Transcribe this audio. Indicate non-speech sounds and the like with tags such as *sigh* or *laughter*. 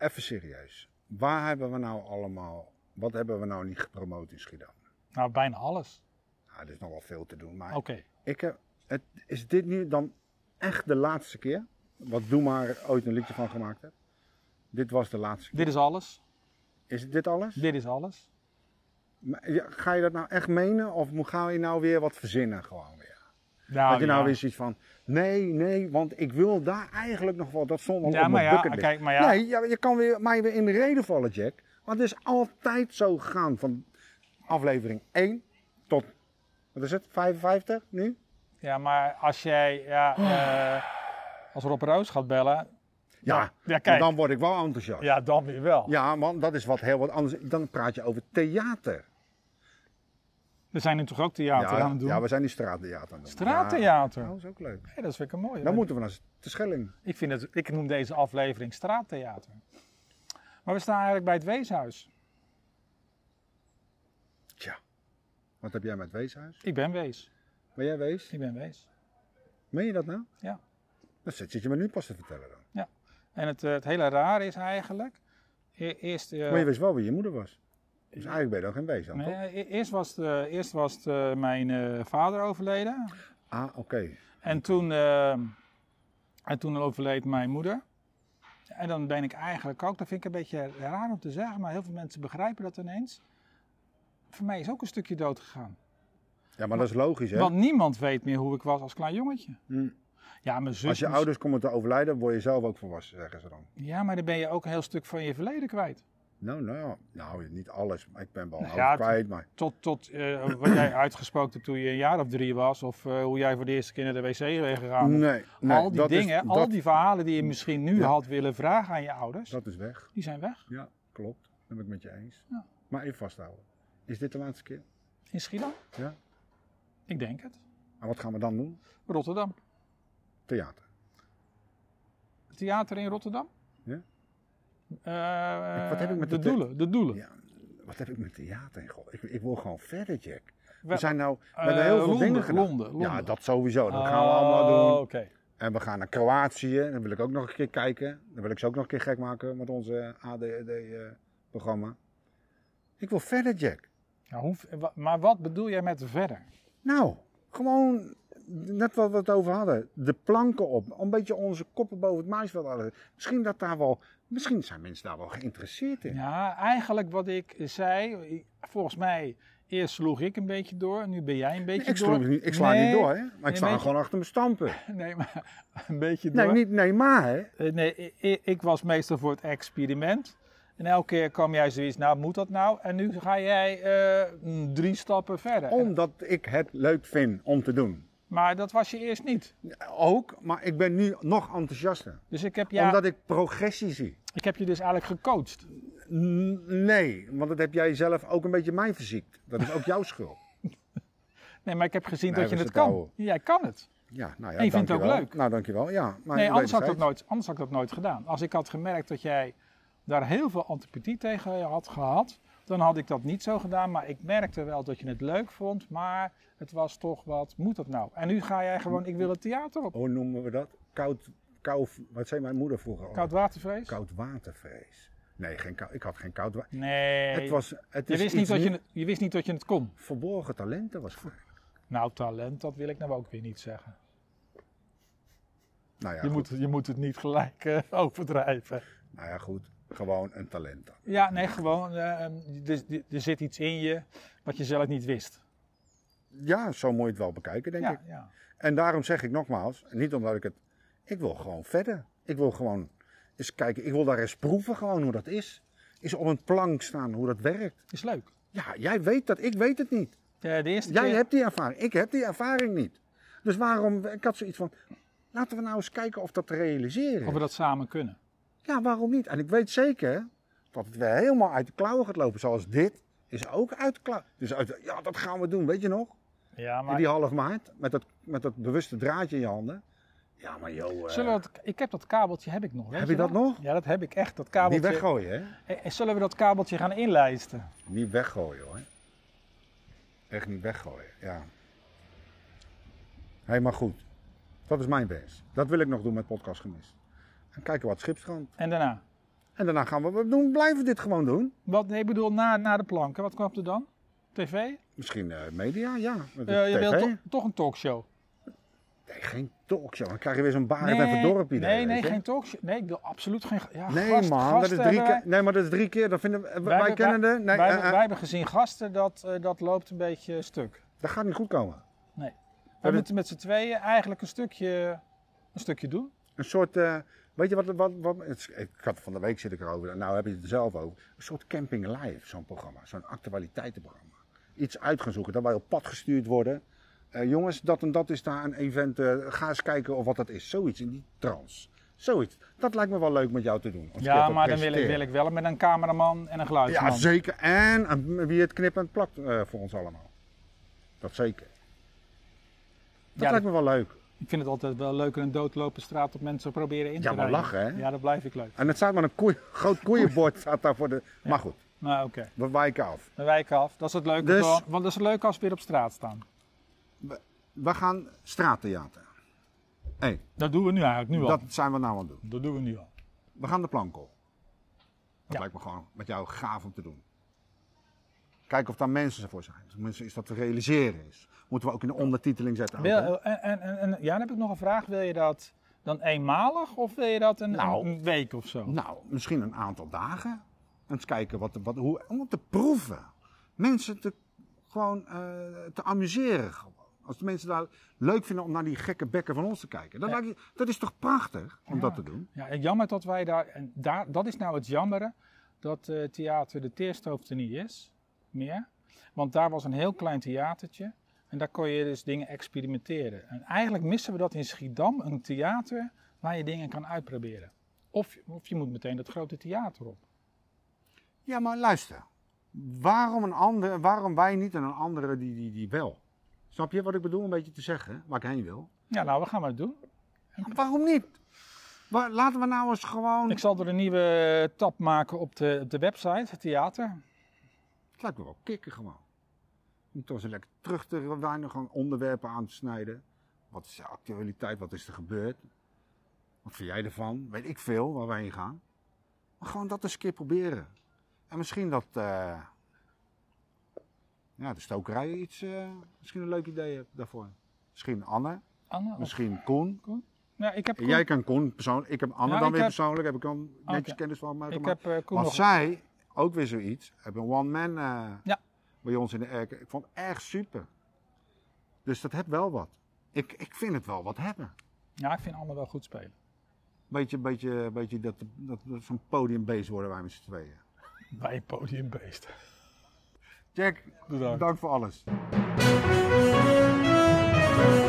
serieus. Waar hebben we nou allemaal, wat hebben we nou niet gepromoot in Schiedam? Nou, bijna alles. Nou, er is nog wel veel te doen, maar Oké. ik heb, het, is dit nu dan echt de laatste keer? Wat Doe Maar ooit een liedje van gemaakt hebt. Dit was de laatste keer. Dit is alles. Is dit alles? Dit is alles. Maar, ja, Ga je dat nou echt menen of moet- ga je nou weer wat verzinnen gewoon weer? Nou, dat je nou ja. weer zoiets van, nee, nee, want ik wil daar eigenlijk nog wel dat zon wel Ja, op maar mijn ja, bucketlist. kijk, maar ja. Nee, ja, je kan weer, mij weer in de reden vallen, Jack. Want het is altijd zo gegaan van aflevering 1 tot, wat is het, 55 nu? Ja, maar als jij, ja, Ah. eh, als Rob Roos gaat bellen, Ja, Ja, kijk. maar dan word ik wel enthousiast. Ja. ja, dan weer wel. man, dat is wat heel wat anders. Dan praat je over theater. We zijn nu toch ook theater aan het doen? ja, we zijn die straattheater aan het doen. Straattheater? Ja, dat is ook leuk. Ja, dat is weer een mooie. Dan moeten we naar de Schelling. ik, vind het, ik noem deze aflevering straattheater. Maar we staan eigenlijk bij het Weeshuis. Tja, wat heb jij met Weeshuis? Ik ben Wees. Ben jij Wees? Ik ben Wees. Meen je dat nou? Ja. Dat zit zit je me nu pas te vertellen dan. En het, eh, het hele raar is eigenlijk, e- eerst... eh, Maar je wist wel wie je moeder was. Dus eigenlijk ben je dan geen wees dan, nee, toch? e- eerst was, het, eh, eerst was het, eh, mijn eh, vader overleden. Ah, oké. En toen, eh, en toen overleed mijn moeder. En dan ben ik eigenlijk ook, dat vind ik een beetje raar om te zeggen, maar heel veel mensen begrijpen dat ineens. Voor mij is ook een stukje dood gegaan. Ja, maar dat is logisch, hè? Want niemand weet meer hoe ik was als klein jongetje. Hm. Ja, mijn zus. Als je moest- ouders komen te overlijden, word je zelf ook volwassen, zeggen ze dan. Ja, maar dan ben je ook een heel stuk van je verleden kwijt. Nou, nou, nou, niet alles. Maar Ik ben wel Nou nou, ja, het- kwijt, maar... Tot, tot eh, wat *clears throat* jij uitgesproken hebt toen je een jaar of drie was. Of eh, hoe jij voor de eerste keer naar de wc bent gegaan. Nee, nee, al die dat is- dingen, al dat- die verhalen die je misschien nu Ja. had willen vragen aan je ouders. Dat is weg. Die zijn weg. Ja, klopt. Dat ben ik met je eens. Ja. Maar even vasthouden. Is dit de laatste keer? In Schiedam? Ja. Ik denk het. En wat gaan we dan doen? Rotterdam. Theater. Theater in Rotterdam? Ja. Eh, Ik- wat heb ik met de, de- doelen? De doelen. Ja, Wat heb ik met theater in god? Ik, ik wil gewoon verder, Jack. We, We- zijn nou... We eh, hebben heel veel Londen, dingen gedaan. Londen, Ja, Londen. Oh. dat sowieso. Dat gaan we allemaal doen. Oké. En we gaan naar Kroatië. Dan wil ik ook nog een keer kijken. Dan wil ik ze ook nog een keer gek maken met onze ADD-programma. eh, Ik wil verder, Jack. Nou, hoe- wa- maar wat bedoel jij met verder? Nou, gewoon net wat we het over hadden. De planken op. Een beetje onze koppen boven het maisveld hadden. Misschien, dat daar wel, misschien zijn mensen daar wel geïnteresseerd in. Ja, eigenlijk wat ik zei, ik- volgens mij eerst sloeg ik een beetje door, nu ben jij een beetje ik, sla door. niet, ik sla Nee, niet door, hè? Maar nee, ik sta weet je- gewoon achter mijn stampen. *laughs* Nee, maar een beetje door. Nee, niet, nee maar hè? Eh, nee, i- i- ik, was meestal voor het experiment. En elke keer kwam jij zoiets, nou moet dat nou? En nu ga jij eh, mm, drie stappen verder. Omdat ik het leuk vind om te doen. Maar dat was je eerst niet. Ook, maar ik ben nu nog enthousiaster. Dus ik heb, ja, Omdat ik progressie zie. ik heb je dus eigenlijk gecoacht. N- Nee, want dat heb jij zelf ook een beetje mij verziekt. Dat is ook jouw *laughs* schuld. Nee, maar ik heb gezien Nee, dat je we het zitten kan. ouwe. Jij kan het. Ja, nou ja, En je vindt het ook dankjewel. leuk. Nou, dankjewel. Ja, maar Nee, ik anders weet had, ik dat het nooit, anders had ik dat nooit gedaan. Als ik had gemerkt dat jij daar heel veel antipathie tegen had gehad, dan had ik dat niet zo gedaan. Maar ik merkte wel dat je het leuk vond, maar het was toch wat, moet dat nou? En nu ga jij gewoon, ik wil het theater op. steeds. Hoe noemen we dat? Koud, koud, wat zei mijn moeder vroeger? al? Koud watervrees? Koud watervrees. Nee, geen kou- ik had geen koud water. Nee. Het was, het je, is wist niet iets dat je, nieuw- het- je wist niet dat je het kon. Verborgen talenten was voor. Nou, talent, dat wil ik nou ook weer niet zeggen. Nou ja, je, goed. moet, je moet het niet gelijk eh, *laughs* overdrijven. nou ja, goed. Gewoon een talent dan. Ja, nee, gewoon, eh, er, er- er zit iets in je wat je zelf niet wist. Ja, zo moet je het wel bekijken, denk ja, ik. ja. En daarom zeg ik nogmaals, niet omdat ik het... Ik wil gewoon verder. Ik wil gewoon eens kijken. Ik wil daar eens proeven gewoon hoe dat is. Is op een plank staan hoe dat werkt. Is leuk. Ja, jij weet dat. Ik weet het niet. Eh, de eerste Jij keer... hebt die ervaring. Ik heb die ervaring niet. Dus waarom... Ik had zoiets van... Laten we nou eens kijken of dat te realiseren Of we is. dat samen kunnen. Ja, waarom niet? En ik weet zeker dat het weer helemaal uit de klauwen gaat lopen. Zoals dit is ook uit de klauwen. Dus uit de- ja, dat gaan we doen. Weet je nog? Ja, In die half maart. Met dat, met dat bewuste draadje in je handen. Ja, maar joh... eh, Zullen we dat, ik heb dat kabeltje heb ik nog. weet Heb je dat wel? nog? Ja, dat heb ik echt, dat kabeltje. Niet weggooien, hè? Eh, eh, Zullen we dat kabeltje gaan inlijsten? Niet weggooien, hoor. Echt niet weggooien, ja. Hé, maar goed. Dat is mijn wens. Dat wil ik nog doen met Podcast Gemist. En kijken wat Schipstrand. En daarna? En daarna gaan we wat doen. Blijven we dit gewoon doen. Wat, nee, ik bedoel, na, na de planken, wat kwam er dan? TV? Misschien eh, media, ja. Met Eh, je TV. wilt to- toch een talkshow? Nee, geen talkshow. Dan krijg Ah, je weer zo'n barend en verdorp idee. nee, nee weet je. geen talkshow. Nee, ik wil absoluut geen... Ja, Nee, gast- man, dat gasten is drie hebben keer. Nee, maar dat is drie keer. Dat vinden we, wij, hebben- kennen de. Nee, wij, eh, hebben- eh, wij hebben gezien gasten, dat, eh, dat loopt een beetje stuk. dat gaat niet goed komen. We dit- moeten met z'n tweeën eigenlijk een stukje, een stukje doen. Een soort. eh, weet je wat, wat, wat het is- Ik had van de week zit ik erover. Nou heb je het er zelf over. Een soort camping live, zo'n programma. Zo'n actualiteitenprogramma. Iets uit gaan zoeken. Dat wij op pad gestuurd worden. Eh, jongens, dat en dat is daar een event. eh, ga eens kijken of wat dat is. Zoiets in die trance. Zoiets. Dat lijkt me wel leuk met jou te doen. Als Ja, maar dan wil ik, wil ik wel met een cameraman en een Ja, geluidsman. zeker. En een- wie het knipt en plakt eh, voor ons allemaal. Dat zeker. Dat Ja, lijkt me wel leuk. Ik vind het altijd wel leuk in een doodlopen straat op mensen proberen in Ja, te maar rijden. lachen, hè? Ja, dat blijf ik leuk. En het staat maar een koeien, *laughs* groot koeienbord staat daar voor de... Maar goed, Nou, oké. we wijken af. We wijken af. Dat is het leuke. Dus- gewoon- want dat is het leuke als we weer op straat staan. We gaan straattheater. Hé, Dat doen we nu eigenlijk, nu al. dat Dat, zijn we nou aan het doen. doen we nu al. We gaan de plank op. Dat Ja. lijkt me gewoon met jou gaaf om te doen. Kijken of daar mensen ervoor zijn. Of mensen is dat te realiseren is. Moeten we ook in de ondertiteling zetten. ook, hè? Wil, en, en, en, en- ja, dan heb ik nog een vraag. Wil je dat dan eenmalig of wil je dat een, Nou. een week of zo? Nou, misschien een aantal dagen. Eens kijken wat, wat, hoe, om te proeven. Mensen te, gewoon eh, te amuseren. Gewoon. Als de mensen daar leuk vinden om naar die gekke bekken van ons te kijken. Dat, Ja. lijkt je- dat is toch prachtig om Ja. dat te doen? Ja, en jammer dat wij daar, en daar, dat is nou het jammere, dat eh theater de Teerstoof er niet is, meer. Want daar was een heel klein theatertje en daar kon je dus dingen experimenteren. En eigenlijk missen we dat in Schiedam, een theater waar je dingen kan uitproberen. Of, je- of je moet meteen dat grote theater op. Ja, maar luister. Waarom, een ander, waarom wij niet en een andere die, die, die wel? Snap je wat ik bedoel? Een beetje te zeggen waar ik heen wil. Ja, nou, we gaan maar doen. Waarom niet? Waar, laten we nou eens gewoon. Ik zal er een nieuwe tab maken op de, op de website, het theater. Het lijkt me wel kicken gewoon. Om toch eens lekker terug te weinig gewoon onderwerpen aan te snijden. Wat is de actualiteit? Wat is er gebeurd? Wat vind jij ervan? Weet ik veel waar wij heen gaan. Maar gewoon dat eens een keer proberen. En misschien dat eh, ja, de stokerij iets, eh, misschien een leuk idee hebt daarvoor. Misschien Anne, Anne, of- misschien Koen. Dus, ja, ik heb Koen, Jij kan Koen persoonlijk, ik heb Anne Ja, dan ik weer heb- Ah, persoonlijk, heb ik dan netjes Oké. kennis van maken. ik heb, eh, Koen Want nog... zij, ook weer zoiets, hebben een one-man eh, Ja. bij ons in de erken. Ik vond het erg super. Dus dat heeft wel wat. Ik, ik vind het wel wat hebben. Ja, ik vind Anne wel goed spelen. Beetje, beetje, beetje dat, dat, dat zo'n podiumbeest worden wij met z'n tweeën. Bij podiumbeest. Jack, Bedankt. dank voor alles.